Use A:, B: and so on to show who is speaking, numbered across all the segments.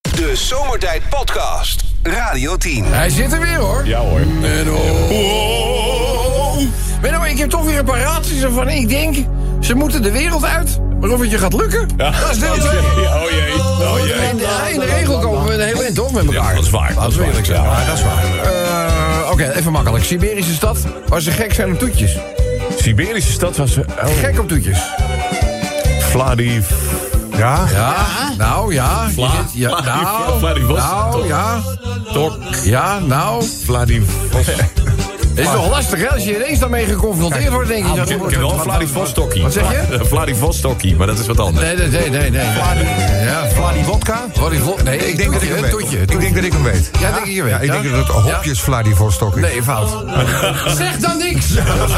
A: De Zomertijd Podcast. Radio 10.
B: Hij zit er weer hoor.
C: Ja hoor.
B: Menno. Menno, ik heb toch weer een paratie van. Ik denk, ze moeten de wereld uit. Maar of het je gaat lukken, dat is deel 2.
C: Ja, Oh jee. Oh
B: In,
C: jee.
B: de- in de regel komen we een heel eind toch met elkaar.
C: Ja, dat is waar. Dat is
B: eerlijk zijn. Ja, dat is waar. Eh, Oké, even makkelijk. Siberische stad, waar ze gek zijn op toetjes.
C: Oh. Siberische stad was... Oh,
B: Gek op toetjes.
C: Vladiv...
B: Ja? Ja. Nou, ja.
C: Vla-
B: Je zit- ja,
C: Vla-
B: nou,
C: Vladivostok.
B: nou, ja.
C: Tok.
B: Ja, nou.
C: Vladiv...
B: Het is toch lastig, hè? Als je ineens daarmee geconfronteerd wordt, denk je...
C: nou, Ik
B: dat-
C: ken ik ken wel
B: wat-
C: Vladivostokkie.
B: Wat zeg je?
C: Vladivostokkie, maar dat is wat anders.
B: Nee, nee, nee, nee. nee. Ja,
D: Vladi Vodka?
B: Vladivostok. Nee,
D: Ik denk dat ik hem
B: een
D: weet.
B: toetje.
D: Ik denk dat ik hem weet.
B: Ja, denk ik je weet.
D: Ja, ik
B: Ja?
D: denk dat het hopjes Vladivostok is.
B: Nee, fout. zeg dan niks! zeg dan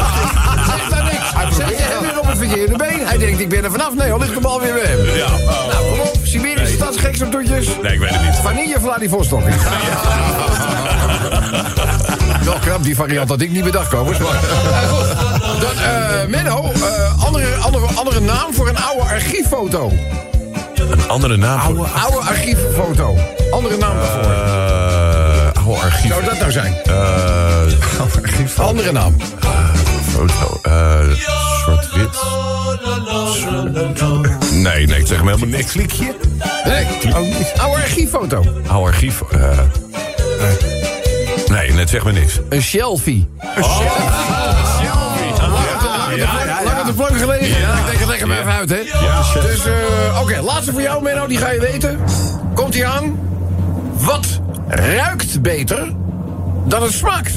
B: niks! Zeg, je hebt weer op het verkeerde been. Hij denkt, ik ben er vanaf. Nee, al ligt de bal weer bij hem.
C: Ja. oh.
B: Nou, kom op. Siberische stad, geks op toetjes.
C: Nee, ik weet het niet.
B: Vanille Vladivostok. Wel knap, die variant had ik niet bedacht, komers. Maar Eh, goed, dan, eh, Menno, eh, andere, andere, andere naam voor een oude archieffoto.
C: Een andere naam voor...
B: Oude archieffoto. Andere naam daarvoor.
C: Eh, Oude archief.
B: Zou dat nou zijn?
C: Eh,
B: Andere naam.
C: Foto. eh Zwart-wit. Nee, nee, ik zeg me helemaal niks. Klikje.
B: Nee. Oude archieffoto.
C: Oude archief. eh, nee, net zeg me niks.
B: Een selfie. Oh, Lang op de plank gelegen. Ik denk, dat leg hem even uit, hè. Dus, eh, oké, laatste voor jou, Menno. Die ga je weten. Komt ie aan. Wat ruikt beter dan het smaakt?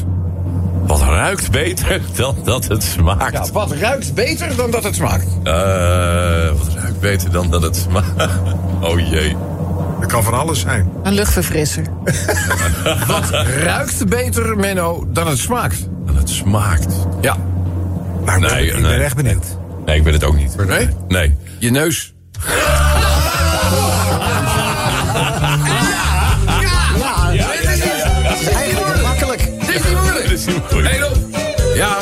C: Wat ruikt beter dan dat het
B: Ja,
C: smaakt?
B: wat ruikt beter dan dat het smaakt?
C: Eh, wat ruikt beter dan dat het smaakt? Oh jee.
D: Dat kan van alles zijn.
E: Een luchtverfrisser.
B: Wat ruikt beter, Menno, dan het smaakt?
C: Dan het smaakt.
B: Ja.
D: Nou, ik ben-
C: Nee,
D: ik
C: nee.
D: ben echt benieuwd.
C: Nee, ik weet het ook niet.
B: Nee?
C: Nee.
B: Je neus. Ja, ja, het is niet- Eigenlijk makkelijk. Het is niet moeilijk.
C: Dat is niet moeilijk.
B: Hey, Rob. Ja.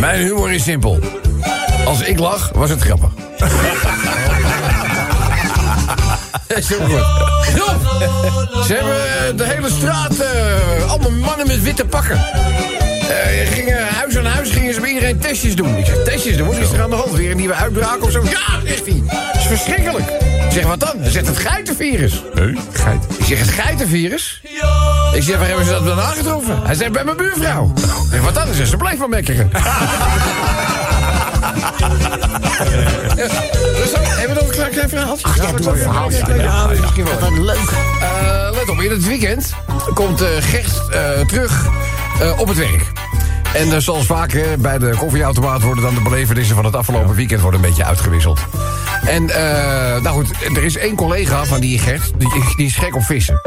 B: Mijn humor is simpel. Als ik lach, was het grappig. Dat is ook goed. Rob, Ze hebben eh, de hele straat, eh, allemaal mannen met witte pakken. Eh, gingen huis aan huis gingen ze bij iedereen testjes doen. Ik zeg, testjes doen? Wat is er aan de hand? Weer een nieuwe uitbraak of zo? Ja, zegt hij. Dat is verschrikkelijk. Ik zeg, wat dan? Hij zegt, het geitenvirus.
C: Nee? Geit.
B: Ik zeg, het geitenvirus? Ik zeg, waar hebben ze dat dan aangetroffen? Hij zegt, bij mijn buurvrouw. Ik zeg, wat dan? Hij zegt, ze blijft maar mekkeren. Dus dan, hebben we nog een klein, klein verhaal? Ach, ja, doe een verhaal. Misschien wel.
E: Leuk.
B: Eh, let op, in het weekend komt eh, Gert eh, terug eh, op het werk. En eh, zoals vaak eh, bij de koffieautomaat worden dan de belevenissen van het afgelopen weekend worden een beetje uitgewisseld. En eh, nou goed, er is één collega van die Gert, die, die is gek op vissen.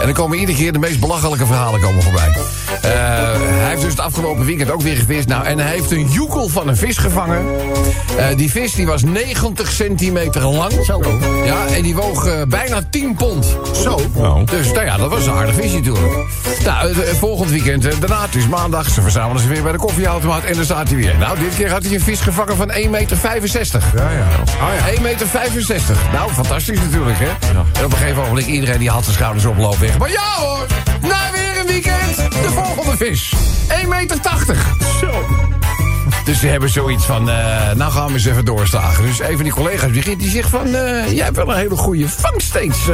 B: En dan komen iedere keer de meest belachelijke verhalen komen voorbij. Eh, hij heeft dus het afgelopen weekend ook weer gevist. Nou, en hij heeft een joekel van een vis gevangen. Eh, die vis die was 90 centimeter lang. Zo. Ja, en die woog eh, bijna 10 pond. Zo.
C: Nou.
B: Dus nou ja, dat was een aardig visje natuurlijk. Nou, eh, eh, volgend weekend, eh, daarna, het is maandag, ze verzamelen ze weer bij de koffieautomaat en dan staat hij weer. Nou, dit keer had hij een vis gevangen van 1,65 meter.
D: Ja, ja.
B: 1,65 meter. Nou, fantastisch natuurlijk, hè? En op een gegeven moment iedereen die had zijn schouders oploop weg. Maar ja hoor, na weer een weekend, de volgende vis. 1,80 meter. Zo. Dus ze hebben zoiets van, eh, nou gaan we eens even doorslagen. Dus een van die collega's begint, die zegt van... eh, jij hebt wel een hele goede vangst steeds eh,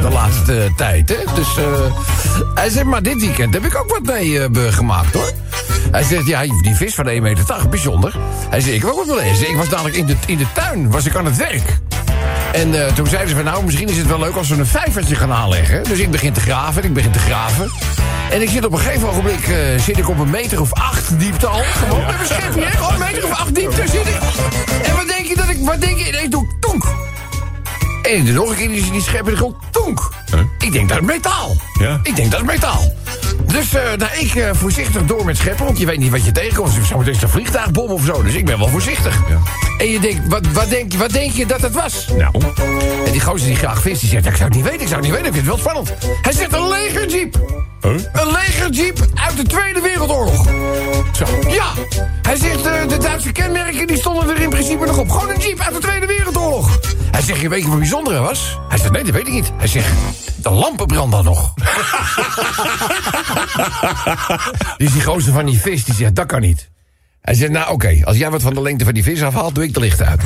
B: de laatste tijd, hè? Dus eh, hij zegt, maar dit weekend heb ik ook wat mee eh, be- gemaakt, hoor. Hij zegt, ja, die vis van 1,80 meter, bijzonder. Hij zegt, ik heb ook wat mee. Hij zegt, ik was dadelijk in de, in de tuin, was ik aan het werk. En eh, toen zeiden ze van nou, misschien is het wel leuk als we een vijvertje gaan aanleggen. Dus ik begin te graven en ik begin te graven. En ik zit op een gegeven ogenblik eh, zit ik op een meter of acht diepte al. Oh, Gewoon met mijn schepje, hè? Gewoon een meter of acht diepte zit ik. En wat denk je dat ik, wat denk je? En ik doe tonk. En er nog een keer die, die schep en ik doe tonk. Ik denk dat is metaal.
C: Ja.
B: Ik denk dat is metaal. Dus eh, nou, ik eh, voorzichtig door met scheppen, want je weet niet wat je tegenkomt. Zo meteen is een vliegtuigbom of zo, dus ik ben wel voorzichtig. En je denkt, wat, wat, denk, wat denk je dat het was?
C: Nou.
B: En die gozer die graag vist, die zegt, ik zou het niet weten, ik zou het niet weten, ik vind het wel spannend. Hij zegt een legerjeep.
C: Huh?
B: Een legerjeep uit de Tweede Wereldoorlog. Zo. Ja, hij zegt, eh, de Duitse kenmerken die stonden er in principe nog op. Gewoon een jeep uit de Tweede Wereldoorlog. Hij zegt, je weet wat bijzondere was? Hij zegt, nee, dat weet ik niet. Hij zegt, de lampen branden nog. dus die gozer van die vis, die zegt, dat kan niet. Hij zegt, nou oké, als jij wat van de lengte van die vis afhaalt, doe ik de lichten uit.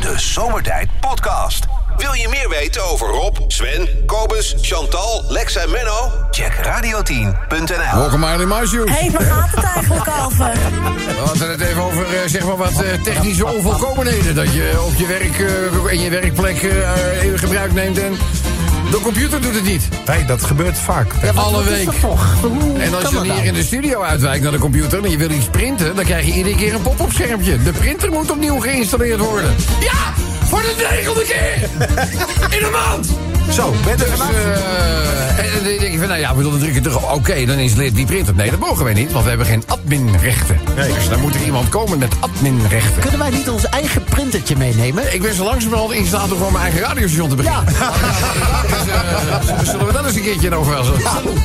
A: De Zomertijd Podcast. Wil je meer weten over Rob, Sven, Kobus, Chantal, Lex en Menno? Check radio10.nl.
B: Welkom aan in my shoes.
E: Hé, waar gaat het eigenlijk over?
B: We hadden het even over eh, zeg maar wat eh, technische onvolkomenheden. Dat je op je werk, eh, in je werkplek eh, in gebruik neemt en de computer doet het niet.
D: Nee, dat gebeurt vaak.
B: Alle week. En als
D: kan
B: je
D: dat
B: dan hier
D: nou?
B: in de studio uitwijkt naar de computer en je wil iets printen, dan krijg je iedere keer een pop-up schermpje. De printer moet opnieuw geïnstalleerd worden. Ja! Voor de negende keer! In een maand!
D: Zo, ben er
B: Dus,
D: vanaf.
B: eh, en dan denk je van, nou ja, we willen drukken terug. Oké, dan installeert die printer. Nee, dat mogen wij niet, want we hebben geen adminrechten. Dus dan moet er iemand komen met adminrechten.
F: Kunnen wij niet ons eigen printertje meenemen?
B: Ik ben zo langzamerhand in staat om gewoon mijn eigen radiostation te beginnen. Dus, eh, zullen we dat eens een keertje over wel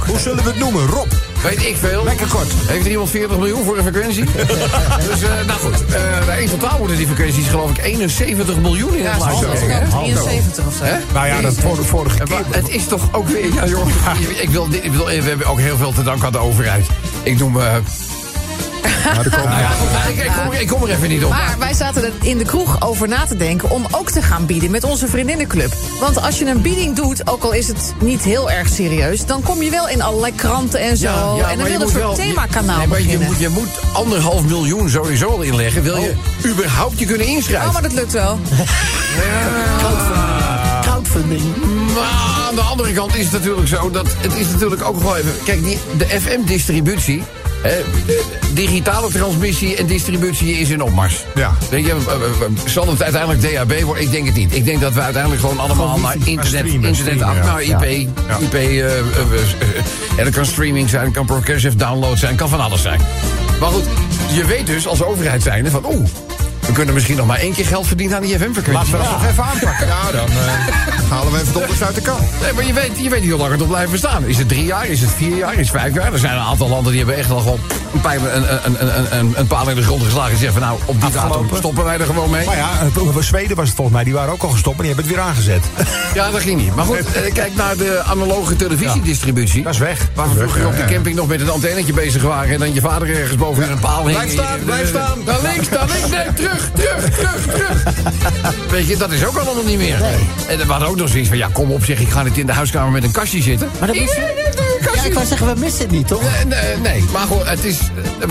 D: Hoe zullen we het noemen? Rob. Nou,
B: Weet ik veel. Lekker kort. Heeft er iemand 40 miljoen voor een frequentie? dus, eh, nou goed. eh in totaal worden die frequenties geloof ik 71 miljoen in het
G: Ja,
B: luisteren.
G: hallo,
B: hè?
G: 73 of zo.
B: Hè?
D: Nou ja, dat voor de vorige
B: Eh, maar
D: keer.
B: Het is toch ook weer... Ja, jongen. Ik wil, dit- ik bedoel, eh, we hebben ook heel veel te danken aan de overheid. Ik noem... eh,
D: Nou, er komen-
B: ja, goed, ik, ik kom, er- ik kom er even niet op.
G: Maar wij zaten er in de kroeg over na te denken om ook te gaan bieden met onze vriendinnenclub. Want als je een bieding doet, ook al is het niet heel erg serieus, dan kom je wel in allerlei kranten en zo. en dan
B: maar
G: wil
B: je
G: je
B: moet
G: een soort
B: wel-
G: themakanaal
B: Nee, maar je
G: beginnen.
B: moet, je moet anderhalf miljoen sowieso al inleggen. Wil je überhaupt je kunnen inschrijven?
G: Oh, maar dat lukt wel.
F: Crowdfunding.
B: Maar Nou, aan de andere kant is het natuurlijk zo dat het is natuurlijk ook wel even. Kijk, die, de FM-distributie. hè, digitale transmissie en distributie is in opmars.
D: Ja.
B: Denk je, eh, eh, eh, zal het uiteindelijk DAB worden? Ik denk het niet. Ik denk dat we uiteindelijk gewoon allemaal naar internet,
D: streamen,
B: internet af.
D: streamen,
B: Nou,
D: ja.
B: IP.
D: Ja.
B: IP eh, eh, eh, en dat kan streaming zijn, kan progressive download zijn, kan van alles zijn. Maar goed, je weet dus als overheid zijnde van oeh. We kunnen misschien nog maar één keer geld verdienen aan die FM-frequentie.
D: Laten we dat nog even aanpakken. Ja, dan eh, halen we even de onderste uit de kan.
B: Nee, maar je weet, je weet niet hoe lang het op blijft bestaan. Is het drie jaar? Is het vier jaar? Is het vijf jaar? Er zijn een aantal landen die hebben echt al gewoon een, pijp- een, een, een, een, een paal in de grond geslagen. En zeggen van nou, op die datum
D: Afgelopen.
B: stoppen wij er gewoon mee.
D: Maar ja, het- over Zweden was het volgens mij. Die waren ook al gestopt, maar die hebben het weer aangezet.
B: Ja, dat ging niet. Maar goed, eh, kijk naar de analoge televisiedistributie.
D: Dat is weg.
B: Waar we
D: Dat is
B: vroeger
D: weg,
B: op
D: ja,
B: de
D: ja.
B: camping nog met het antennetje bezig waren... en dan je vader ergens boven in een paal hing.
D: Blijf staan,
B: Eh,
D: blijf staan.
B: Naar links, naar links, nee, terug, terug, terug, terug. Weet je, dat is ook allemaal niet meer. En we hadden ook nog zoiets van... ja, kom op zeg, ik ga niet in de huiskamer met een kastje zitten.
F: Maar dat is-
B: Iedereen heeft een
F: Ja,
B: kastje.
F: ik wou zeggen, we missen het niet, toch?
B: Eh, Nee, nee, maar goed, het is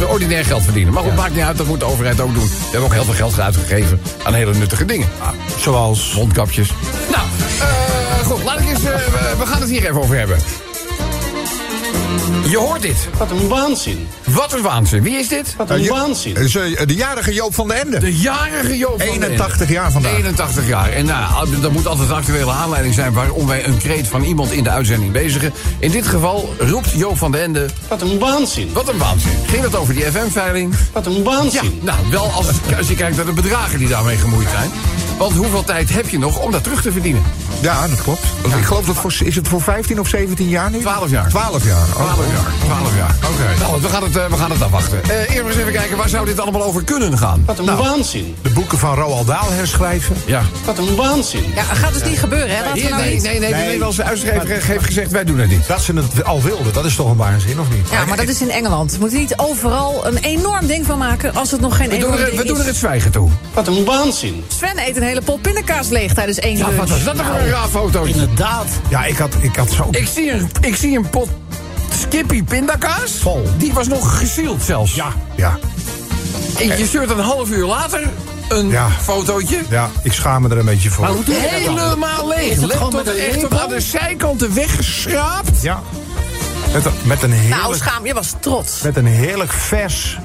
B: eh, ordinair geld verdienen. Maar goed, maakt niet uit, dat moet de overheid ook doen. We hebben ook heel veel geld uitgegeven aan hele nuttige dingen.
H: Ah.
D: Zoals...
B: Mondkapjes. Nou, eh, goed, laat ik eens, eh, we- we gaan het hier even over hebben. Je hoort dit.
H: Wat een waanzin.
B: Wat een waanzin. Wie is dit?
H: Wat een
D: Eh, Jo-
H: waanzin.
D: eh, ze- eh, De jarige Joop van den Ende.
B: De jarige Joop van den Ende.
D: 81 jaar vandaag.
B: 81 jaar. En nou, dat moet altijd een actuele aanleiding zijn... waarom wij een kreet van iemand in de uitzending bezigen. In dit geval roept Joop van den Ende...
H: Wat een waanzin.
B: Wat een waanzin. Ging dat over die FM-veiling?
H: Wat een
B: Ja,
H: waanzin.
B: nou, wel als, als je kijkt naar de bedragen die daarmee gemoeid zijn. Want hoeveel tijd heb je nog om dat terug te verdienen?
D: Ja, dat klopt. Want Ik geloof dat voor, is het voor 15 of 17 jaar nu?
B: 12 jaar.
D: 12 jaar. Oh.
B: 12 jaar. 12 jaar.
D: Oké.
B: Nou, we gaan het, eh, we gaan het afwachten. Eh, eerst maar eens even kijken, waar zou dit allemaal over kunnen gaan?
H: Wat een waanzin.
D: De boeken van Roald Dahl herschrijven.
B: Ja.
H: Wat een waanzin.
G: Ja, gaat dus niet gebeuren, hè? Laten we
B: Nee,
G: nou
B: nee,
G: niet...
B: nee, nee, de
D: Nee.
B: Nederlandse uitgever heeft gezegd, wij doen het niet.
D: Dat ze het al wilden, dat is toch een waanzin, of niet?
G: Ja, maar dat is in Engeland. We moeten niet overal een enorm ding van maken als het nog geen
B: We doen
G: enorm
B: er,
G: ding
B: we doen
G: is.
B: er het zwijgen toe.
H: Wat een waanzin.
G: Sven eet een hele pot pindakaas leeg tijdens één
B: Ja,
G: lunch.
B: Ah,
G: Nou,
B: wat was dat toch een raar foto?
F: Inderdaad.
D: Ja, ik had, ik had zo...
B: Ik zie een, ik zie een pot Skippy pindakaas.
D: Vol.
B: Die was nog gezield zelfs.
D: Ja. Ja.
B: En je stuurt een half uur later een
D: Ja.
B: fotootje.
D: Ja, ik schaam me er een beetje voor.
F: Maar hoe doe je dat dan?
B: Helemaal leeg.
F: Is het gewoon
B: Laptop
F: met een
B: echt tot
F: lepel?
B: aan de zijkanten weggeschraapt.
D: Ja. Met, een- met, een
G: Nou,
D: heerlijk,
G: schaam, je was trots.
D: met een heerlijk vers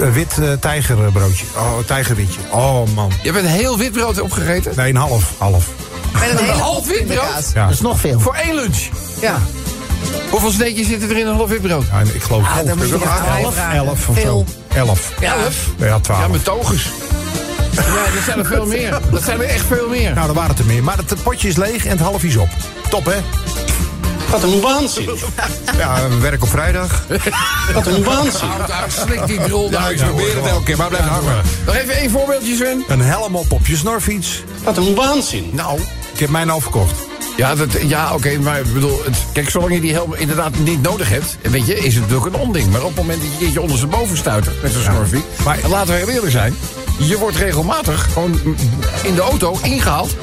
D: eh, wit eh, tijgerbroodje. Oh, tijgerwitje. Oh, man.
B: Je bent heel wit brood opgegeten.
D: Nee, een half. Half.
G: Met een hele
B: half
G: pot
B: wit brood?
G: pindakaas.
D: Ja.
F: Dat is nog veel.
B: Voor één lunch.
G: Ja.
B: Hoeveel sneetjes zitten er in een half wit brood?
D: Ja, en ik geloof...
G: Ah, dan moet je
D: elf,
G: echt
D: elf,
G: vragen.
D: elf of zo.
G: Veel.
D: Elf.
G: Ja.
B: Elf?
D: Ja, twaalf.
B: Ja, met togers. Ja, dat zijn er veel meer. Dat zijn er echt veel meer.
D: Nou, daar waren het er meer. Maar het potje is leeg en het half is op. Top, hè?
H: Wat een waanzin.
D: Ja, we werken op vrijdag.
H: Wat een waanzin.
F: Nou,
B: Slik die drol
D: Ja, ik probeer het elke keer, maar blijf hangen.
B: Nog even één voorbeeldje, Sven.
D: Een helm op op je snorfiets.
H: Wat een waanzin.
D: Nou, ik heb mijn al verkocht.
B: Ja, dat, ja oké, maar ik bedoel, het, kijk, zolang je die helm inderdaad niet nodig hebt, weet je, is het natuurlijk een onding. Maar op het moment dat je een keertje onder zijn boven stuitert met zo'n snorfiets, maar laten we heel eerlijk zijn, je wordt regelmatig gewoon in de auto ingehaald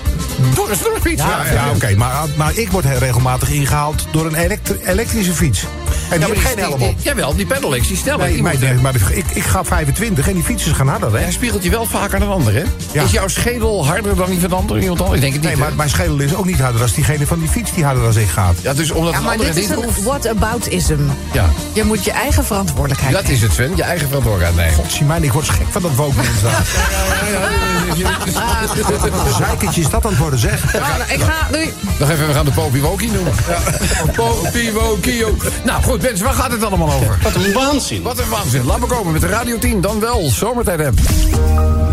B: door een snorfiets.
D: Ja, ja, oké, maar, ah, maar ik word regelmatig ingehaald door een elektri- elektrische fiets. En die
B: maar
D: heeft geen
B: die-
D: helm
B: die-
D: op.
B: Jawel, die pedelecs, die snelheid.
D: Nee,
B: die
D: maar,
B: moet-
D: nee, maar ik, ik ga 25 en die fietsers gaan harder, hè?
B: Hij spiegelt je wel vaker dan anderen, hè?
D: Ja.
B: Is jouw schedel harder dan die van anderen? Iemand anders? Ik denk het niet.
D: Nee,
B: hè?
D: maar mijn schedel is ook niet harder als diegene van die fiets die harder als ik gaat.
B: ja, dus omdat
G: Ja,
B: een
G: maar
B: andere
G: dit is
B: niet
G: een
B: hoeft.
G: whataboutism.
B: Ja,
G: Je moet je eigen verantwoordelijkheid
B: dat is het, Sven. Je eigen verantwoordelijkheid nemen.
D: God, zie mij, ik word gek van dat woke mens daar. Zeikertje is dat aan het worden, zeg.
G: nemen. Ah, nou, ik ga nu...
B: Nog even, we gaan de Popie Wokie noemen. Popie Wokie ook. Nou goed, mensen, waar gaat het allemaal over?
H: Wat een waanzin.
B: Wat een waanzin. Laat me komen met de Radio 10. Dan wel, zomertijd app.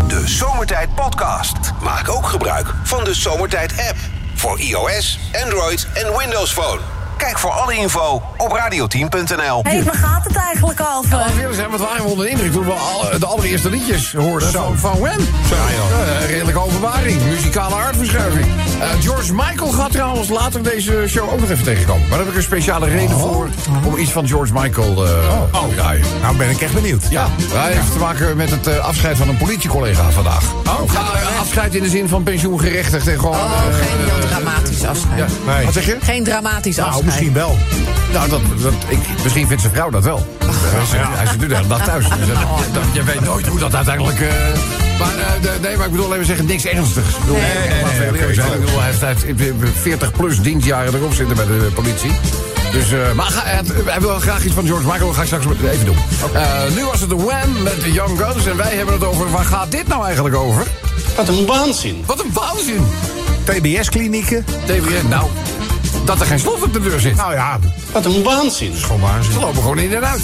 A: De Zomertijd Podcast. Maak ook gebruik van de Zomertijd app. Voor iOS, Android en Windows Phone. Kijk voor alle info op radioteam.nl.
E: Hé, hey, waar gaat het eigenlijk over?
B: Laten we eerlijk zijn, wat waren we onder de indruk toen we al, de allereerste liedjes hoorden van, van Wem. Eh, redelijke openbaring, muzikale aardverschuiving. Eh, George Michael gaat trouwens later deze show ook nog even tegenkomen. Maar daar heb ik een speciale reden voor om iets van George Michael eh, te draaien.
D: Nou ben ik echt benieuwd.
B: Ja, hij heeft te maken met het eh, afscheid van een politiecollega vandaag. Oh, afscheid in de zin van pensioengerechtigd en gewoon...
G: Oh,
B: eh,
G: geen heel dramatisch afscheid.
B: ja.
D: Nee.
B: Wat zeg je?
G: Geen dramatisch
D: Nou,
G: afscheid.
D: misschien wel.
B: Nou, dat, dat, ik, misschien vindt zijn vrouw dat wel. Hij zit- Hij zit nu de hele dag thuis. Dus, eh,
G: Oh.
B: dat- je weet nooit hoe dat uiteindelijk... eh, maar, eh, de- nee, maar ik bedoel alleen maar zeggen, niks ernstigs. Ik bedoel,
G: Nee,
B: eh, laten we heel eerlijk zijn. Ik bedoel, Hij heeft- hij heeft 40 plus dienstjaren erop zitten bij de eh, politie. Dus, eh, maar ga- hij, hij wil graag iets van George Michael. Dat ga ik straks even doen. Eh, nu was het de Wham met de Young Guns. En wij hebben het over, waar gaat dit nou eigenlijk over?
H: Wat een waanzin.
B: Wat een waanzin!
D: TBS-klinieken.
B: TVN, nou, dat er geen slot op de deur zit.
D: Nou ja, dat
H: Wat een waanzin.
D: is gewoon
B: Ze
D: waanzin.
B: lopen gewoon in en uit.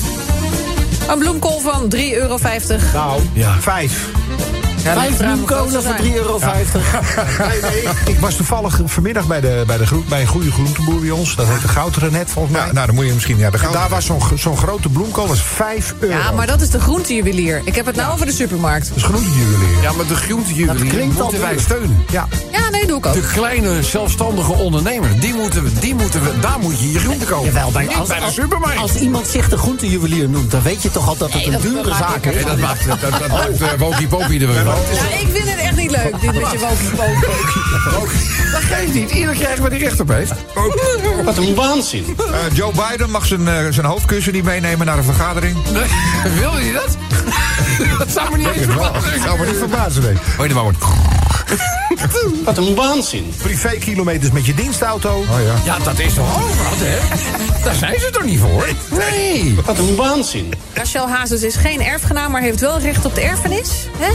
G: Een bloemkool van 3,50 euro.
D: Nou,
B: Ja.
D: vijf.
F: Vijf bloemkolen voor 3,50 euro.
D: Nee, nee, ik, ik was toevallig vanmiddag bij, de, bij, de groen- bij een goede groenteboer bij ons. Dat heet de Goudrenet volgens mij.
I: nou, dan moet je misschien... Ja, de
D: En daar was zo'n gro- zo'n grote bloemkool, dat is 5 euro.
G: Ja, maar dat is de groentejuwelier. Ik heb het nou over de supermarkt.
D: Dat is groentejuwelier.
B: Ja, maar de groentejuwelier
F: Dat klinkt al
B: moeten wij
F: duur.
B: steunen.
D: Ja.
G: Ja, nee, doe ik ook.
B: De kleine zelfstandige ondernemer, die moeten we, die moeten we, daar moet je je groente kopen.
F: Jawel, bij,
B: Niet
F: als,
B: bij de
F: als-
B: supermarkt.
F: als iemand zich de groentejuwelier noemt, dan weet je toch al dat het een
G: dat
F: dure
G: maakt
F: zaak is.
G: niet
B: Nee, dat maakt dat, dat maakt eh, Wokie Popie er wel.
G: Ja, ik vind het echt niet leuk, dit met je wokenpoken.
B: Dat geeft niet. Ieder krijgt wat hij recht op heeft.
H: Wat een waanzin.
I: Eh, Joe Biden mag zijn, eh, zijn hoofdkussen niet meenemen naar een vergadering.
B: Nee, wil je dat? Dat zou me niet eens verbazen.
D: Nou, maar niet verbazen, nee.
B: Hoor je maar
H: Wat een waanzin.
D: Privé-kilometers met je dienstauto.
B: Ja, dat is toch over Oh, wat, hè? Daar zijn ze toch niet voor? Nee.
H: Wat een waanzin.
G: Rachel Hazes is geen erfgenaam, maar heeft wel recht op de erfenis. Hè?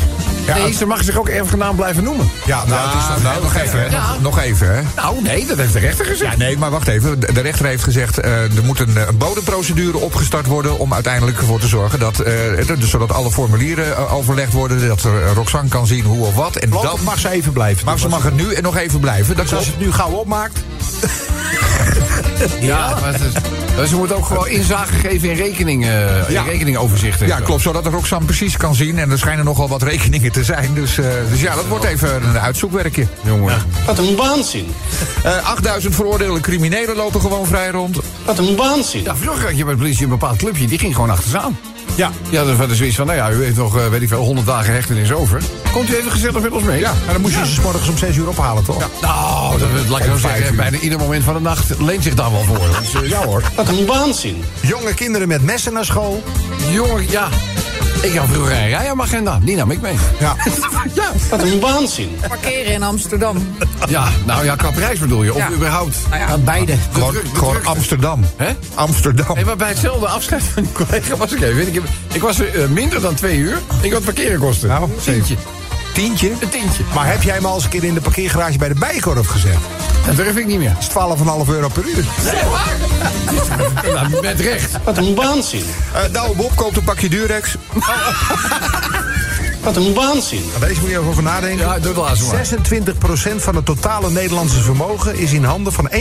B: Nee, ze mag zich ook erfgenaam blijven noemen.
I: Ja, nou, het is toch- nou, nog even, hè. Nog, nog even, hè.
B: Nou, nee, dat heeft de rechter gezegd.
I: Ja, nee, maar wacht even. De de rechter heeft gezegd, eh, er moet een, eh, een bodemprocedure opgestart worden... om uiteindelijk ervoor te zorgen dat... eh, het- dus zodat alle formulieren eh, overlegd worden... dat er, eh, Roxanne kan zien hoe of wat. En
D: Voorlopig
I: dat,
D: mag ze even blijven.
I: maar ze mag het nu en nog even blijven. Dat
D: Dus als
I: klopt.
D: je het nu gauw opmaakt...
B: Ja, maar het is- ze moet ook gewoon inzage geven in, rekening, eh,
I: Ja.
B: in rekeningoverzichten.
I: Ja, klopt. Zodat Roxanne precies kan zien. En er schijnen nogal wat rekeningen te zijn. Dus, eh, dus ja, dat wordt even een uitzoekwerkje.
B: Jongen.
H: Wat een waanzin.
I: Eh 8000 veroordeelde criminelen lopen gewoon vrij rond.
H: Wat een waanzin.
B: Ja, vroeger had je bij de politie een bepaald clubje, die ging gewoon achter ze aan.
D: Ja.
B: Ja, dat was zoiets van, nou ja, u heeft nog, eh, weet ik veel, 100 dagen hechtenis over. Komt u even gezellig met ons mee? Ja.
D: Maar dan moest je ze 's morgens om 6 uur ophalen, toch?
B: Nou, dat, dat laat ik zo zeggen, bijna ieder moment van de nacht leent zich daar wel voor. Dus, eh, ja hoor.
H: Wat een waanzin.
D: Jonge kinderen met messen naar school.
B: Jongen, ja. Ik had vroeger een rijamagenda, die nam ik mee.
D: Ja.
B: ja.
H: Wat een waanzin.
G: Parkeren in Amsterdam.
B: Ja, nou ja, qua prijs bedoel je, of
G: Ja.
B: überhaupt.
D: Nou
F: Aan beide.
B: De
I: Gewoon,
B: druk- de
I: gewoon
B: drukte.
I: Amsterdam.
B: Hè?
I: Amsterdam.
B: Hey, maar bij hetzelfde afscheid van die collega was ik even. Ik, heb- ik was er eh, minder dan twee uur. Ik had parkeren kosten.
D: Nou,
B: een tientje.
I: Tientje.
B: Een tientje.
D: Maar heb jij me al eens een keer in de parkeergarage bij de Bijenkorf gezet?
B: Dat durf ik niet meer.
D: Dat is 12,5 euro per uur.
B: Nou, met recht.
H: Wat een waanzin.
D: Nou,
I: Eh nou, Bob koopt een pakje Durex.
H: Wat een waanzin.
D: Deze moet je even over nadenken.
B: Ja, doe het laatste maar.
D: 26% van het totale Nederlandse vermogen is in handen van 1%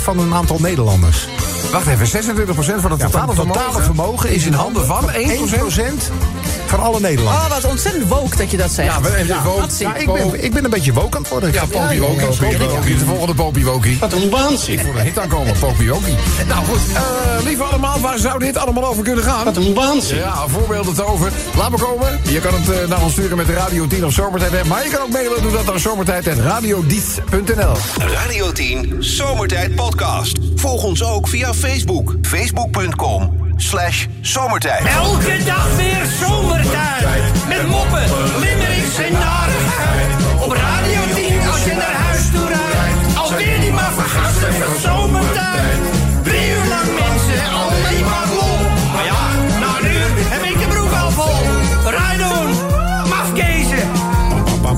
D: van een aantal Nederlanders.
B: Wacht even, 26% van het
D: Ja,
B: totale
D: van het totale
B: vermogen.
D: vermogen is in handen van 1%, van alle Nederlanders.
G: Oh, wat ontzettend woke dat je dat zegt.
B: Ja, we- en de woke-
G: Hatsie.
D: Ja, ik, ben, ik ben een beetje woke aan het worden. Ik
B: Ja,
D: ga-
B: Popie Woki.
D: ja,
B: Popie
D: ja.
B: Woki. De volgende Popie Woki.
H: Wat een waanzin.
B: Voor een hit aankomen, Popie Woki. Nou goed, eh, lieve allemaal, waar zou dit allemaal over kunnen gaan?
H: Wat een waanzin.
B: Ja, voorbeelden te over. Laat me komen. Je kan het eh, naar ons sturen met de Radio 10 of Zomertijd. app. Maar je kan ook mailen. Doe dat naar zomertijd.radiodiet.nl
A: Radio 10 Zomertijd Podcast. Volg ons ook via Facebook. Facebook.com slash zomertijd.
J: Elke dag weer zomertijd. Met moppen, limmerings en narigheid. Op Radio 10 als je naar huis toe rijdt. Alweer die maar vergasten van zomertijd. Drie uur lang mensen, alleen maar lol. Maar ja, na een uur heb ik de broek al vol. Rijdoen, mafkezen.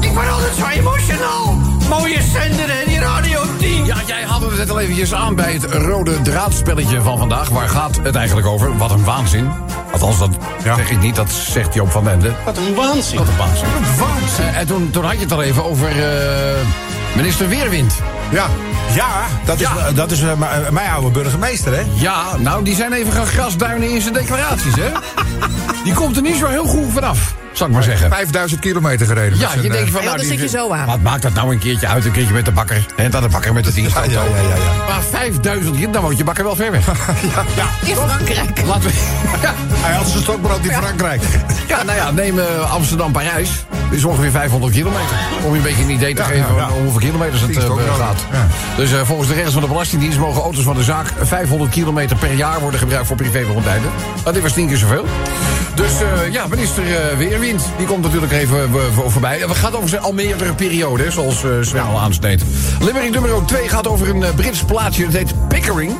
J: Ik word altijd zo emotional. Mooie zender en die Radio 10.
B: Ja, jij haalde het net al eventjes aan bij het rode draadspelletje van vandaag. Waar gaat het eigenlijk over? Wat een waanzin. Althans, dat zeg ik niet. Dat zegt Joop van den Ende.
H: Wat een waanzin.
B: Wat een waanzin. Eh, en toen, toen had je het al even over eh, minister Weerwind.
D: Ja, ja, dat is,
B: Ja.
D: Dat is eh, m- eh, mijn oude burgemeester, hè?
B: Ja, nou, die zijn even gaan grasduinen in zijn declaraties, hè? Die komt er niet zo heel goed vanaf, zal ik maar zeggen.
I: 5000 kilometer gereden. met
B: Ja,
I: zijn,
B: je
I: eh,
B: denkt van... nou,
G: Ja, dan
B: die-
G: zit je zo aan.
B: Wat maakt dat nou een keertje uit, een keertje met de bakker? En dan de bakker met de dienstauto.
D: Ja, ja, ja, ja.
B: Maar 5000 kilometer, dan woont je bakker wel ver weg.
G: In Frankrijk.
B: Laten we... Ja,
D: Hij had zijn stokbrood in Frankrijk.
B: ja, nou ja, neem eh, Amsterdam-Parijs. Dat is ongeveer 500 kilometer. Om je een beetje een idee te geven
D: ja.
B: om hoeveel kilometers het
D: Die is
B: eh,
D: ook nodig.
B: gaat. Dus eh, volgens de regels van de Belastingdienst mogen auto's van de zaak 500 kilometer per jaar worden gebruikt voor privéberoemdheden. Nou, dit was tien keer zoveel. Dus eh, ja, minister eh, Weerwind, die komt natuurlijk even eh, voor- voorbij. Het gaat over zijn al meerdere periode, hè, zoals eh Sven al aansneed. Limmering nummer 2 gaat over een eh, Brits plaatsje, dat heet Pickering.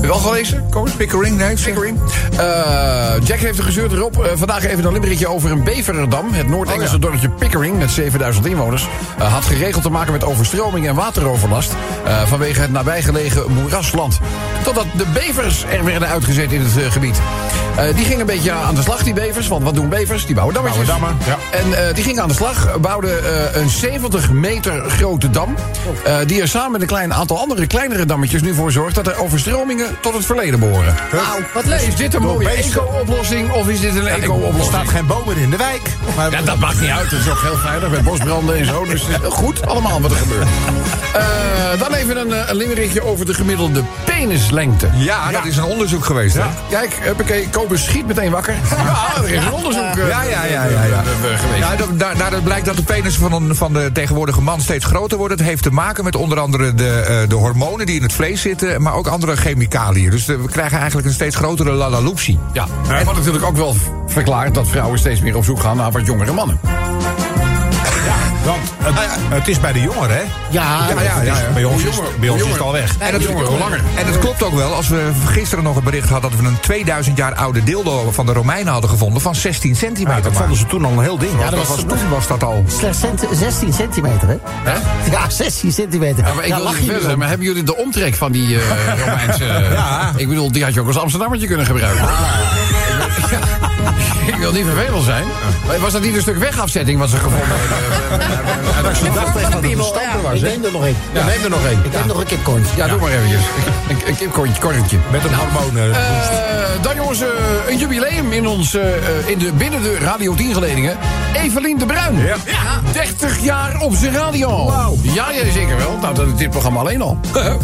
B: Heb je wel gelezen? Koos?
I: Pickering, nee. zeg-
B: Pickering. Eh, Jack heeft er gezeurd erop. Eh, vandaag even een limmerikje over een Beverdam. Het Noord-Engelse
D: Oh
B: dorpje Pickering met 7000 inwoners. eh, had geregeld te maken met overstroming en wateroverlast. eh, vanwege het nabijgelegen moerasland. Totdat de bevers er werden uitgezet in het eh, gebied. Eh, die gingen een beetje aan de slag, die bevers. Want wat doen bevers? Die bouwen dammetjes.
D: Bouwen dammen, ja.
B: En eh, die gingen aan de slag, bouwden eh, een 70 meter grote dam. eh, die er samen met een klein aantal andere kleinere dammetjes nu voor zorgt dat er overstromingen tot het verleden behoren.
G: Wauw, wat leuk.
B: Is dit een mooie eco-oplossing of is dit een
D: Er staat
B: eco-oplossing?
D: geen boom meer in de wijk. Maar
B: Ja, dat maakt niet uit. Het is ook heel veilig met bosbranden en zo. Dus eh, goed, allemaal wat er gebeurt. Eh, dan even een, eh, een limmerikje over de gemiddelde penislengte.
I: Ja, dat is een onderzoek geweest. hè?
B: Kijk, huppakee, Kobus schiet meteen wakker. Ja, er is een onderzoek eh,
I: Ja, ja, ja, ja, ja.
B: eh, eh, geweest.
I: Ja, dat, daar- daaruit blijkt dat de penis van, een, van de tegenwoordige man steeds groter wordt. Het heeft te maken met onder andere de, eh, de hormonen die in het vlees zitten, maar ook andere chemicaliën. Dus eh, we krijgen eigenlijk een steeds grotere lalaloopsie.
B: Ja, en wat natuurlijk ook wel verklaart dat vrouwen steeds meer op zoek gaan naar wat jongere mannen.
D: Want het, het is bij de jongeren, hè?
F: Ja,
D: ja, ja, ja. Bij ons, is, bij ons is het al weg.
I: En dat,
B: Jonger, hoe langer.
I: en het klopt ook wel, als we gisteren nog een bericht hadden... dat we een 2000 jaar oude dildo van de Romeinen hadden gevonden... van 16 centimeter.
D: dat
I: maar.
D: vonden ze toen al een heel ding.
I: dat was, toen was dat al.
F: Slechts cent- 16 centimeter, hè?
B: Hè?
F: Ja, 16 centimeter.
B: Ja, maar ik
F: Daar
B: wil
F: lach
B: niet
F: je
B: verder,
F: weer om.
B: maar hebben jullie de omtrek van die eh Romeinse... ja. Ik bedoel, die had je ook als Amsterdammertje kunnen gebruiken. Ja. Ik wil niet vervelend zijn. Maar was dat niet een stuk wegafzetting wat ze gevonden hebben?
G: De vorm van de piemel, ja.
F: Ik neem er nog een.
B: Ja, neem er nog één.
F: Ik neem nog een kipcorn.
B: Ja, doe maar eventjes. Een, een kipkorrentje. korrentje.
D: Met
I: Nou,
D: een hormoon. eh, boost.
B: Eh, dan jongens, eh, een jubileum in ons, eh, eh, in de, binnen de Radio 10 geledingen. Evelien de Bruin. Ja. 30 jaar op zijn radio. Ja, ja, zeker wel. Nou, dat is dit programma alleen al.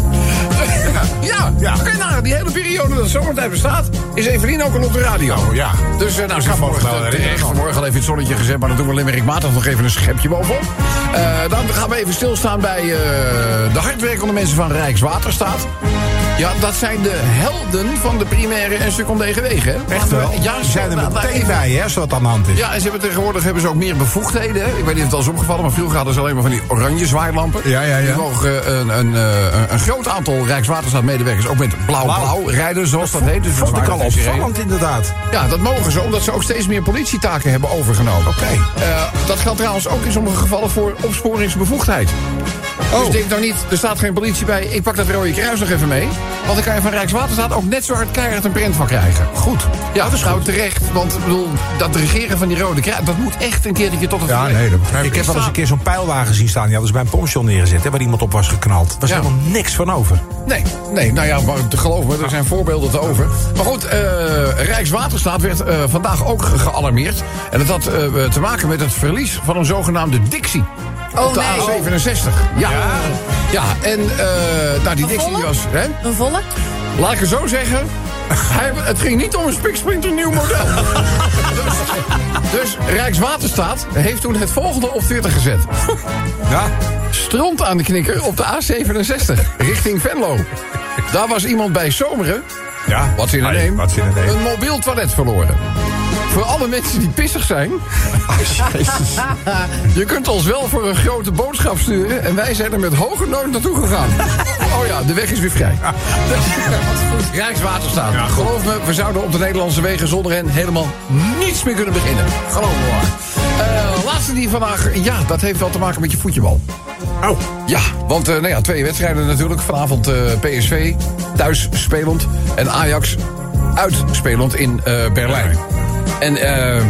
B: ja, ja. Kun je nagaan, die hele periode dat zomertijd bestaat... is Evelien ook al op de radio.
D: Oh, ja.
B: Dus eh, nou, ze
D: Kan me nog wel
B: vanmorgen
D: herinneren.
B: terecht. Vanmorgen al even het zonnetje gezet, maar dan doen we Limerick Maandag nog even een schepje bovenop. Eh, dan gaan we even stilstaan bij eh, de hardwerkende mensen van Rijkswaterstaat. Ja, dat zijn de helden van de primaire en secundaire wegen. hè?
D: Echt wel?
B: Ja,
D: Ze zijn er
B: nou, nou,
D: meteen
B: even-
D: bij, hè, als dat aan de hand is.
B: Ja, en ze hebben tegenwoordig hebben ze ook meer bevoegdheden. Hè? Ik weet niet of het al is opgevallen, maar vroeger hadden ze alleen maar van die oranje zwaailampen.
D: Ja, ja, ja.
B: Nu mogen eh, een, een, eh, een groot aantal Rijkswaterstaat-medewerkers ook met blauw-blauw rijden, zoals dat, heet. Dus met
D: Vond ik al
B: zware sirene.
D: opvallend, inderdaad.
B: Ja, dat mogen ze, omdat ze ook steeds meer politietaken Eh, hebben overgenomen. Oké. dat geldt trouwens ook in sommige gevallen voor opsporingsbevoegdheid. Dus denk dan niet, er staat geen politie bij, ik pak dat rode kruis nog even mee. Want dan kan je van Rijkswaterstaat ook net zo hard keihard een print van krijgen. Goed. Ja, dat is nou terecht. Want ik bedoel, dat regeren van die rode kruis, dat moet echt een keer dat je tot het
D: Ja,
B: verlicht.
D: nee, dat begrijp ik.
B: Ik
D: Ik heb wel eens
B: sta-
D: een keer zo'n pijlwagen zien staan. Die hadden ze bij een pompstation neergezet, hè, waar iemand op was geknald. Er was
B: Ja.
D: helemaal niks van over.
B: Nee, nee, nou ja, maar te geloven, me, er zijn voorbeelden te over. Maar goed, eh, Rijkswaterstaat werd eh, vandaag ook ge- gealarmeerd. En dat had eh, te maken met het verlies van een zogenaamde Dixie.
G: Oh,
B: op de
G: nee.
B: A67. Ja. ja, en eh, nou, die Dixie die
G: volle?
B: was... Hè?
G: Een volle?
B: Laat ik het zo zeggen. Hij, het ging niet om een spiksplinter nieuw model. dus, dus Rijkswaterstaat heeft toen het volgende op Twitter gezet.
D: Ja,
B: Stront aan de knikker op de A67 richting Venlo. Daar was iemand bij Zomeren.
D: Ja.
B: Wat in een
D: Ai,
B: neem.
D: wat zin in een neem.
B: Een mobiel toilet verloren. Voor alle mensen die pissig zijn. Je kunt ons wel voor een grote boodschap sturen. En wij zijn er met hoge nood naartoe gegaan. Oh ja, de weg is weer vrij. Rijkswaterstaat. Geloof me, we zouden op de Nederlandse wegen zonder hen helemaal niets meer kunnen beginnen. Geloof me hoor. Eh, laatste die vandaag. Ja, dat heeft wel te maken met je voetjebal.
D: Oh.
B: Ja, want eh, nou ja, twee wedstrijden natuurlijk. Vanavond eh, PSV thuis spelend en Ajax uitspelend in eh, Berlijn. En eh,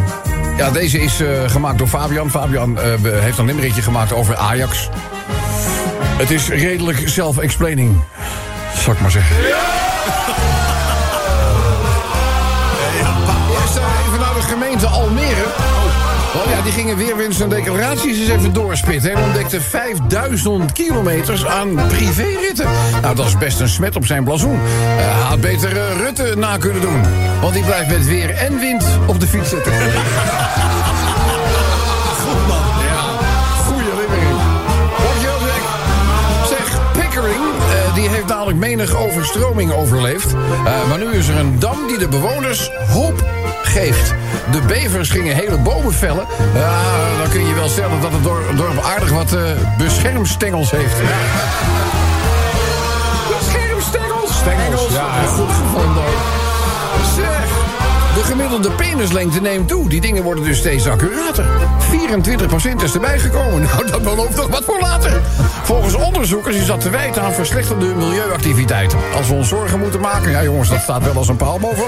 B: ja, deze is eh, gemaakt door Fabian. Fabian eh, be- heeft een limmeretje gemaakt over Ajax. Het is redelijk self-explaining, zal ik maar zeggen. Eerst eh, even naar de gemeente Almere. Oh ja, die gingen weer winst en declaraties eens even doorspitten. En ontdekten 5000 kilometers aan privéritten. Nou, dat is best een smet op zijn blazoen. Eh, Hij had beter eh, Rutte na kunnen doen. Want die blijft met weer en wind op de fiets zitten. Goed man. Ja, goeie limmering. Hoor je wel, Jack? Zeg, Pickering, eh, die heeft dadelijk menig overstroming overleefd. Eh, maar nu is er een dam die de bewoners hoop geeft. De bevers gingen hele bomen vellen. Ja, dan kun je wel stellen dat het dor- dorp aardig wat eh, beschermstengels heeft. Beschermstengels! Stengels, ja. Goed gevonden. hoor. Zeg, de gemiddelde penislengte neemt toe. Die dingen worden dus steeds accurater. 24% is erbij gekomen. Nou, dat belooft nog wat voor later. Volgens onderzoekers is dat te wijten aan verslechterende milieuactiviteiten. Als we ons zorgen moeten maken... Ja, jongens, dat staat wel als een paal boven.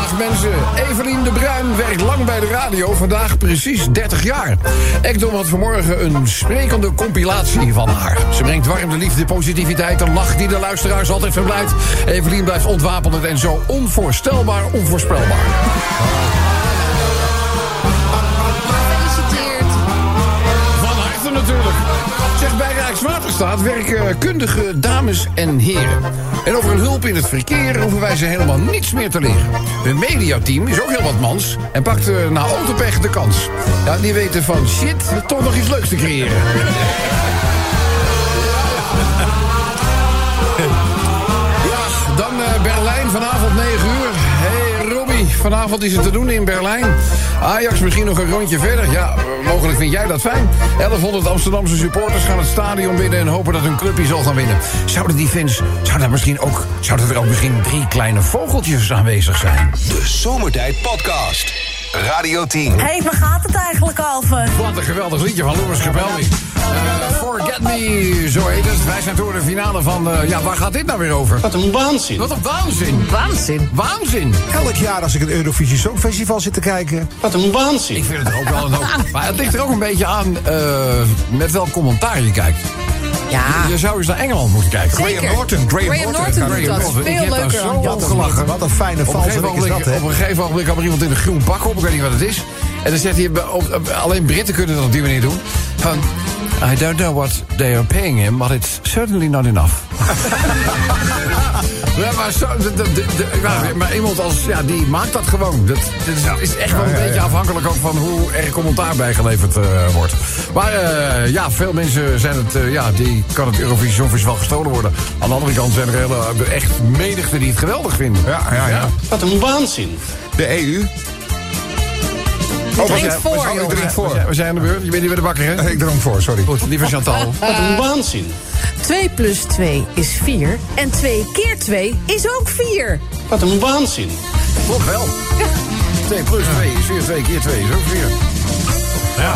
B: Dag mensen, Evelien de Bruin werkt lang bij de radio, vandaag precies 30 jaar. Ekdom had vanmorgen een sprekende compilatie van haar. Ze brengt warmte, liefde, positiviteit, een lach die de luisteraars altijd verblijft. Evelien blijft ontwapend en zo onvoorstelbaar onvoorspelbaar. Van harte natuurlijk. Zeg, bij Rijkswaterstaat werken eh, kundige dames en heren. En over hun hulp in het verkeer hoeven wij ze helemaal niets meer te leren. Hun mediateam is ook heel wat mans en pakt eh, na autopech de kans. Ja, die weten van shit toch nog iets leuks te creëren. Ja, dan eh, Berlijn vanavond 9 uur. Hey Robbie, vanavond is het te doen in Berlijn. Ajax misschien nog een rondje verder. Ja, eh, mogelijk vind jij dat fijn. 1100 Amsterdamse supporters gaan het stadion binnen en hopen dat hun clubje zal gaan winnen. Zouden die fans, zou daar misschien ook, zouden er ook misschien drie kleine vogeltjes aanwezig zijn?
A: De Zomertijd Podcast. Radio 10.
E: Hé, hey, waar gaat het eigenlijk over?
B: Wat een geweldig liedje van Louis Capelli. Eh, Forget Me, zo heet het. Wij zijn door de finale van... eh, ja, waar gaat dit nou weer over?
H: Wat een waanzin.
B: Wat een waanzin.
G: Waanzin.
B: Waanzin.
D: Elk jaar als ik het Eurovisie Songfestival zit te kijken...
H: Wat een
B: Ik
H: waanzin.
B: vind het er ook wel een hoop. Maar het ligt er ook een beetje aan eh, met welk commentaar je kijkt.
G: Ja.
B: Je zou eens naar Engeland moeten kijken.
G: Ah. Zeker.
B: Graham Norton.
G: Graham Norton doet dat. Veel
B: Ik heb daar
G: leuker.
B: zo
G: Ja,
B: om gelachen.
D: Wat een fijne
B: Op een, gegeven
D: valsrik is
B: ogenblik,
D: dat, hè?
B: op een gegeven ogenblik kwam er iemand in een groen pak op. Ik weet niet wat het is. En dan zegt hij, op- op- alleen Britten kunnen dat op die manier doen. Van, I don't know what they are paying him, but it's certainly not enough. Ja, maar, zo, de- de- de- de- maar- maar iemand als, ja, die maakt dat gewoon. Dat, dat is- is, echt wel een beetje afhankelijk ook van hoe er commentaar bij geleverd eh, wordt. Maar eh, ja, veel mensen zijn het, eh, ja, die kan het Eurovisie Songfestival gestolen worden. Aan de andere kant zijn er hele, eh, echt menigte die het geweldig vinden.
I: Ja, ja, ja.
H: Wat een waanzin.
I: De EU.
G: Je drinkt voor,
I: Oh, ik
G: jongen.
I: drink voor.
B: We zijn aan de beurt. Je bent niet bij de bakker, hè?
I: Ik dronk voor, sorry.
B: Goed, lieve Chantal.
H: Waanzin.
G: 2 plus 2 is 4. En 2 keer 2 is ook 4.
H: Wat een waanzin.
B: Klopt wel. 2 plus 2 is weer 2 keer 2, is ook weer. Ja.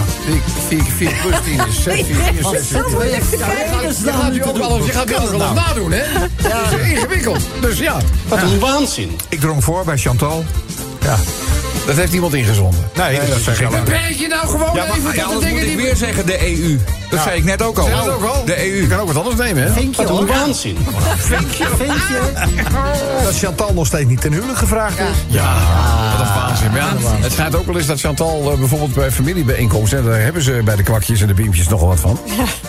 B: 4 plus 10 is 6, 4 is 6.
G: Zo moeilijk te krijgen.
B: Je gaat nu ook wel, je gaat nu ook wel eens nadoen, hè? Ja. Dat is ingewikkeld. Dus ja,
H: Wat een waanzin.
I: Ik dronk voor bij Chantal.
B: dat heeft iemand ingezonden.
D: Nee, dat zijn geen
B: Beperk je nou gewoon
I: Ja,
B: even
I: maar
B: tot de
I: anders moet
B: dingen
I: ik
B: die...
I: weer zeggen de EU. Dat zei ik net ook al.
B: Zeg dat ook al?
I: De
B: Je
I: EU.
B: kan ook wat anders nemen, hè?
F: Vinkje
H: Wat een
F: hoor.
H: waanzin.
B: Ah!
F: Vinkje.
D: Dat Chantal nog steeds niet ten huwelijk gevraagd dus. is.
B: Ja, wat een waanzin. Maar ja, het schijnt ook wel eens dat Chantal eh, bijvoorbeeld bij familiebijeenkomsten... en daar hebben ze bij de kwakjes en de beampjes nogal wat van...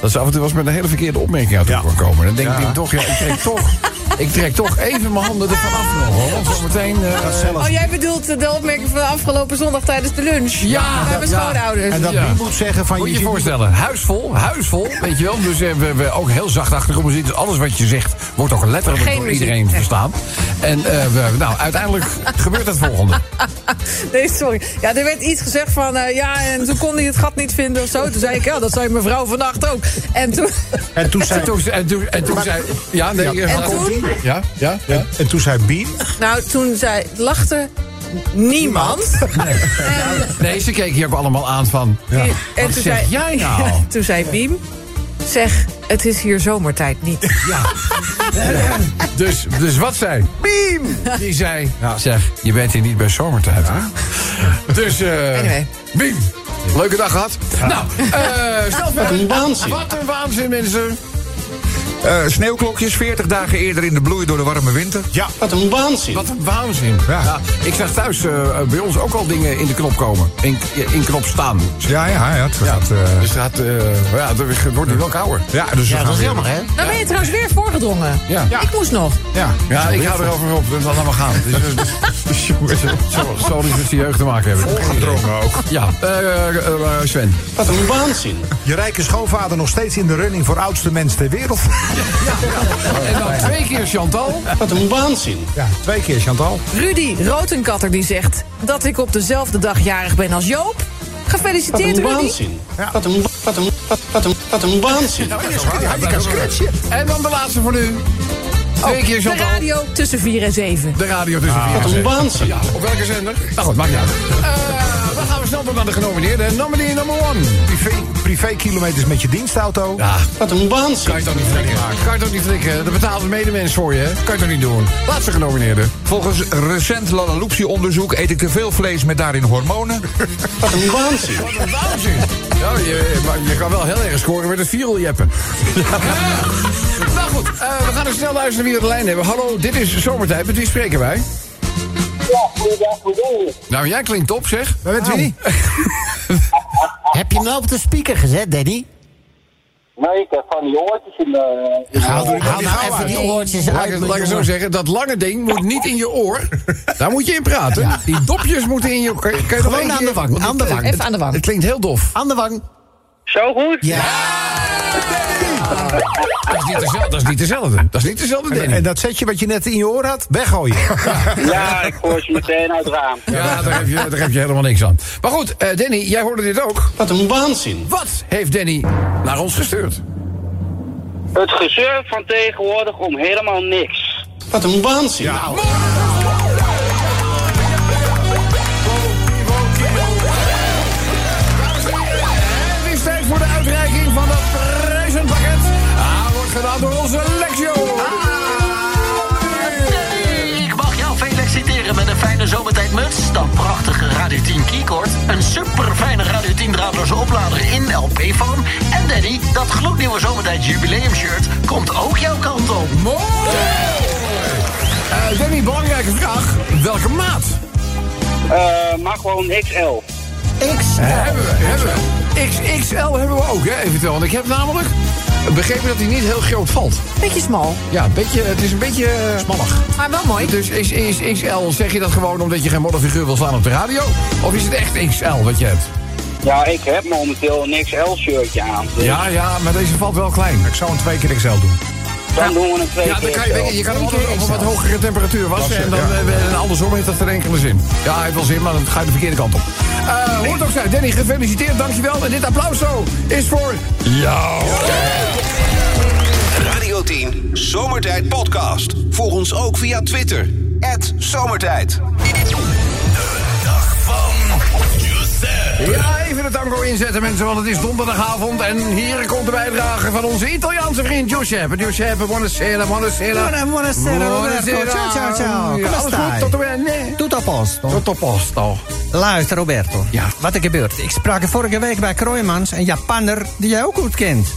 B: dat ze af en toe wel eens met een hele verkeerde opmerking uit de kan komen. Dan denk ik toch, ja, ik trek toch... Ik trek toch even mijn handen ervan af nog, hoor. Want zometeen... eh,
G: Oh, jij bedoelt de opmerking van afgelopen zondag tijdens de lunch?
B: Ja,
G: Bij
B: dat-
G: mijn
B: ja.
G: schoonouders.
D: En dat
B: Ja.
D: wie moet zeggen van...
B: Moet je je
D: ziet-
B: voorstellen, huisvol, huisvol, weet je wel. Dus eh, we, we ook heel zacht achter muziek. Dus alles wat je zegt wordt ook letterlijk
G: Geen
B: door
G: muziek,
B: iedereen
G: echt.
B: verstaan. En eh, we, nou, uiteindelijk gebeurt het volgende.
G: Nee, sorry. Ja, er werd iets gezegd van... eh, ja, en toen kon hij het gat niet vinden of zo. Toen zei ik, ja, dat zei mevrouw vannacht ook. En toen...
D: En toen zei,
B: En toen, en toen, en toen zei... Ja, nee, eh,
G: En
B: gaat-
G: toen?
B: Ja, ja, ja.
D: en toen zei Bien...
G: Nou, toen zei, lachte niemand. En,
B: Nee, ze keken je ook allemaal aan van... "Eh,
G: en
B: Wat
G: toen
B: zeg
G: zei,
B: jij nou?
G: toen zei Biem... Zeg, het is hier zomertijd niet.
B: Dus, dus wat zei? Beam! Die zei, zeg, je bent hier niet bij zomertijd, hè? Dus, eh
G: Anyway.
B: Beam! Leuke dag gehad. Nou, eh stel
H: Wat
B: verder.
H: een waanzin.
B: Wat een waanzin, mensen.
I: Eh, sneeuwklokjes, 40 dagen eerder in de bloei door de warme winter.
D: Ja,
H: Wat een waanzin.
B: Wat een waanzin.
I: Ja.
B: Ja, ik zag thuis eh, bij ons ook al dingen in de knop komen. In, in knop staan.
I: Ja, ja, ja. Het gaat, eh,
B: Dus dat, eh, ja, het wordt nu wel kouder.
I: ja, dus we gaan
F: Dat is
I: weer-
F: jammer, hè?
G: Nou ben je trouwens weer voorgedrongen.
B: Ja.
G: Ik moest nog.
B: Ja, ja ik hou erover op. Dat laat maar gaan. Het is, eh, Zo, zo die met die jeugd te maken hebben. Volgedrongen ook. Ja, eh eh, eh, Sven.
H: Wat een waanzin.
D: je rijke schoonvader nog steeds in de running voor oudste mens ter wereld.
B: En dan twee keer Chantal.
H: Wat een waanzin.
D: Ja, twee keer Chantal.
G: Rudy Rotenkatter die zegt... dat ik op dezelfde dag jarig ben als Joop.
H: Wat
G: Gefeliciteerd,
H: een
G: Rudy.
H: waanzin. Wat een wat een wat wat een wat een waanzin.
B: je kan scratchen. En dan de laatste voor nu. Twee keer
G: De
B: Chantal.
G: radio tussen 4 en 7.
B: De radio tussen vier en
H: Wat een
B: zes.
H: waanzin.
B: Ja, Ah, op welke zender? Nou goed, maakt niet uit. Eh, dan gaan we snel door naar de genomineerden. Nominee number one.
D: Privé, privé kilometers met je dienstauto.
B: Ja,
H: Wat een waanzin.
B: kan je toch niet flikken. Kan je toch niet flikken. Dat betaalt een medemens voor je. hè? Kan je toch niet doen. Laatste genomineerde.
I: Volgens recent Lalaoopsie-onderzoek eet ik te veel vlees met daarin hormonen.
H: Wat een waanzin.
B: Wat een waanzin. Ja, je, maar je kan wel heel erg scoren met het viereljeppen. nou goed, eh, we gaan er snel luisteren wie we de lijn hebben. Hallo, dit is Zomertijd. Met wie spreken wij? Nou, jij klinkt top, zeg. Nou.
D: Maar met wie?
F: Heb je hem nou op de speaker gezet, Danny?
K: Nee, ik heb van die oortjes in de...
D: Haal door
F: Haal nou even die oortjes
B: Laat ik
F: uit,
B: het- laat ik het zo
F: jongen.
B: zeggen, dat lange ding moet niet in je oor. Daar moet je in praten. Die dopjes moeten in je... Kan je, kan je
F: Gewoon aan de wang, aan de wang.
G: Even aan de wang.
B: Het klinkt heel dof.
F: Aan de wang.
K: Zo goed?
F: Ja.
B: Dat is niet dezelfde. Dat is niet dezelfde, dat is niet dezelfde Danny.
D: En dat setje wat je net in je oor had, weggooien.
K: Ja, ik gooi ze meteen uit het raam.
B: Ja, daar heb, je, daar heb je helemaal niks aan. Maar goed, eh, Danny, jij hoorde dit ook.
H: Wat een waanzin.
B: Wat heeft Danny naar ons gestuurd?
K: Het gezeur van tegenwoordig om helemaal niks.
H: Wat een waanzin.
B: Het is tijd voor de uitreiking van dat prijzenpakket. Ah, wordt gedaan door onze Lexio. Ah,
L: Ik mag jou feliciteren met een fijne zomertijdmuts. Dat prachtige Radio 10 keycord. Een super fijne Radio 10 draadloze oplader in LP-vorm. En Danny, dat gloednieuwe zomertijd jubileum shirt komt ook jouw kant op.
B: Mooi! Eh, Danny, belangrijke vraag. Welke maat
K: Eh, maar gewoon XL.
B: hebben we? Hebben we? XXL hebben we ook, hè, eventueel. Want ik heb namelijk begrepen dat hij niet heel groot valt.
G: Beetje smal,
B: Ja, een beetje, het is een beetje... eh,
G: maar wel mooi.
B: Dus is, is XL, zeg je dat gewoon omdat je geen modderfiguur wil staan op de radio? Of is het echt XL wat je hebt?
K: Ja, ik heb momenteel een XL-shirtje aan. Dus
B: Ja, ja, maar deze valt wel klein.
D: Ik zou hem twee keer XL doen.
K: Dan doen we een twee
B: Ja, dan kan je, je kan hem altijd op een wat
K: hoger.
B: hogere temperatuur wassen. En, dan, eh, en andersom heeft dat geen enkele zin. Ja, hij heeft wel zin, maar dan ga je de verkeerde kant op. Eh Hoe het ook zij, Danny, gefeliciteerd, dankjewel. En dit applaus zo is voor jou.
A: Radio 10 Zomertijd Podcast. Volg ons ook via Twitter. Zomertijd.
B: Ja, even de tango inzetten, mensen, want het is donderdagavond. En hier komt de bijdrage van onze Italiaanse vriend Giuseppe. Giuseppe, buonasera, buonasera.
F: Buona- buonasera, Roberto.
B: Buonasera.
F: Ciao, ciao, ciao.
B: Ja,
F: Come
B: alles
F: stai?
B: goed, tot de bene.
F: Tutto a posto.
B: Tot op posto.
F: Luister, Roberto. Ja. Wat er gebeurt. Ik sprak vorige week bij Kroijmans, een Japanner die jij ook goed kent.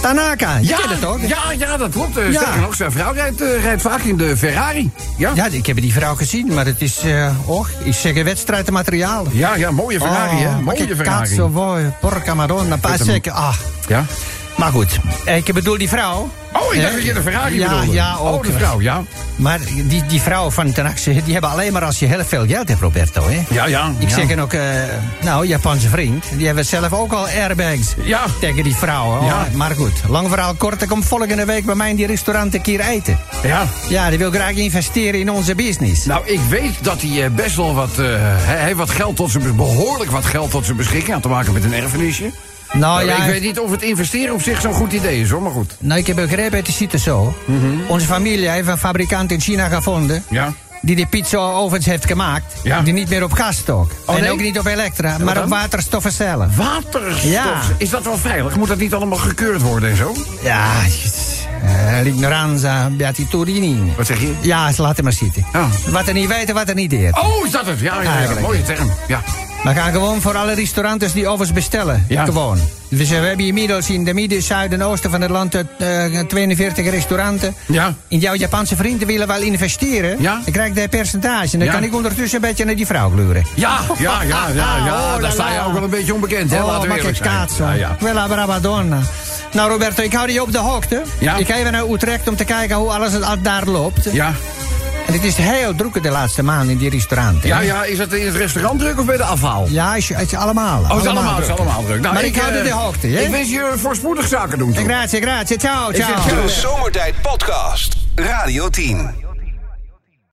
F: Tanaka, je kent het ook?
B: Ja, ja, dat klopt. eh,
F: Ja.
B: Sterker nog, zijn vrouw rijdt, eh, rijdt vaak in de Ferrari.
F: Ja? ik heb die vrouw gezien, maar het is, eh och, ik zeg wedstrijdmateriaal.
B: Ja, ja, mooie Ferrari, hè? Mooie Ferrari.
F: Oh, Cazzo, voi, porca madonna, paar
B: hem.
F: zeker, ah.
B: Ja?
F: Maar goed, eh, ik bedoel die vrouw.
B: Oh, ik dacht
F: hè?
B: dat je de Ferrari
F: ja,
B: bedoelde.
F: Ja,
B: Oh,
F: ook.
B: de vrouw, ja.
F: Maar die, die vrouw van ten Axe, die hebben alleen maar als je heel veel geld hebt, Roberto, hè?
B: Ja, ja.
F: Ik
B: ja.
F: zeg en ook, eh, nou, Japanse vriend, die hebben zelf ook al airbags
B: Ja.
F: tegen die vrouwen. hoor.
B: Ja.
F: Maar goed, lang verhaal kort, ik kom volgende week bij mij in die restaurant een keer eten.
B: Ja.
F: Ja, die wil graag investeren in onze business.
B: Nou, ik weet dat hij eh, best wel wat, eh, hij heeft wat geld tot zijn, bes- behoorlijk wat geld tot zijn beschikking. Had te maken met een erfenisje.
F: Nou ja,
B: ik weet niet of het investeren op zich zo'n goed idee is, hoor. Maar goed.
F: nou, ik heb begrepen, het ziet er zo. Onze familie heeft een fabrikant in China gevonden.
B: Mhm. Ja.
F: Die de pizza ovens heeft gemaakt.
B: Ja.
F: Die niet meer op gas stookt.
B: Oh,
F: en
B: nee?
F: ook niet op elektra, maar
B: dan?
F: op waterstoffen zelf.
B: Waterstof.
F: Ja.
B: Is dat wel veilig? Moet dat niet allemaal gekeurd worden en zo?
F: Ja, eh, l'ignoranza, beatitudine.
B: Wat zeg je?
F: Ja, ze laten maar zitten.
B: Ja.
F: Wat er niet weten, wat er niet deert.
B: Oh, is dat het? Ja, ja, ja,
F: Eigenlijk.
B: mooie term. Ja.
F: We gaan gewoon voor alle restaurants die ovens bestellen.
B: Ja.
F: Gewoon. Dus eh, we hebben inmiddels in de midden, zuiden en oosten van het land eh, 42 restauranten.
B: Ja.
F: In jouw Japanse vrienden willen wel investeren.
B: Ja.
F: Dan krijg ik dat percentage. En dan
B: Ja.
F: kan ik ondertussen een beetje naar die vrouw gluren.
B: Ja, ja, ja, ja, ja.
F: Oh, la,
B: Daar sta je
F: la.
B: ook wel een beetje onbekend, hè? Laten we
F: maar
B: eerlijk
F: kijk,
B: zijn.
F: kaats.
B: Ja, ja.
F: Quella brava donna. Nou Roberto, ik hou je op de hoogte.
B: Ja.
F: Ik ga even naar Utrecht om te kijken hoe alles het- daar loopt.
B: Ja.
F: En het is heel druk de laatste maand in die restauranten.
B: Ja,
F: hè?
B: ja, is dat in het restaurant druk of bij de afhaal?
F: Ja, is- het is allemaal.
B: Oh, het is allemaal, het is allemaal druk. Nou,
F: maar ik, hou
B: eh,
F: je de hoogte, hè?
B: Ik wens je voorspoedig zaken doen. Tom.
F: Grazie, grazie. Ciao,
B: zeg
F: ciao.
B: ciao.
A: De Zomertijd Podcast. Radio 10.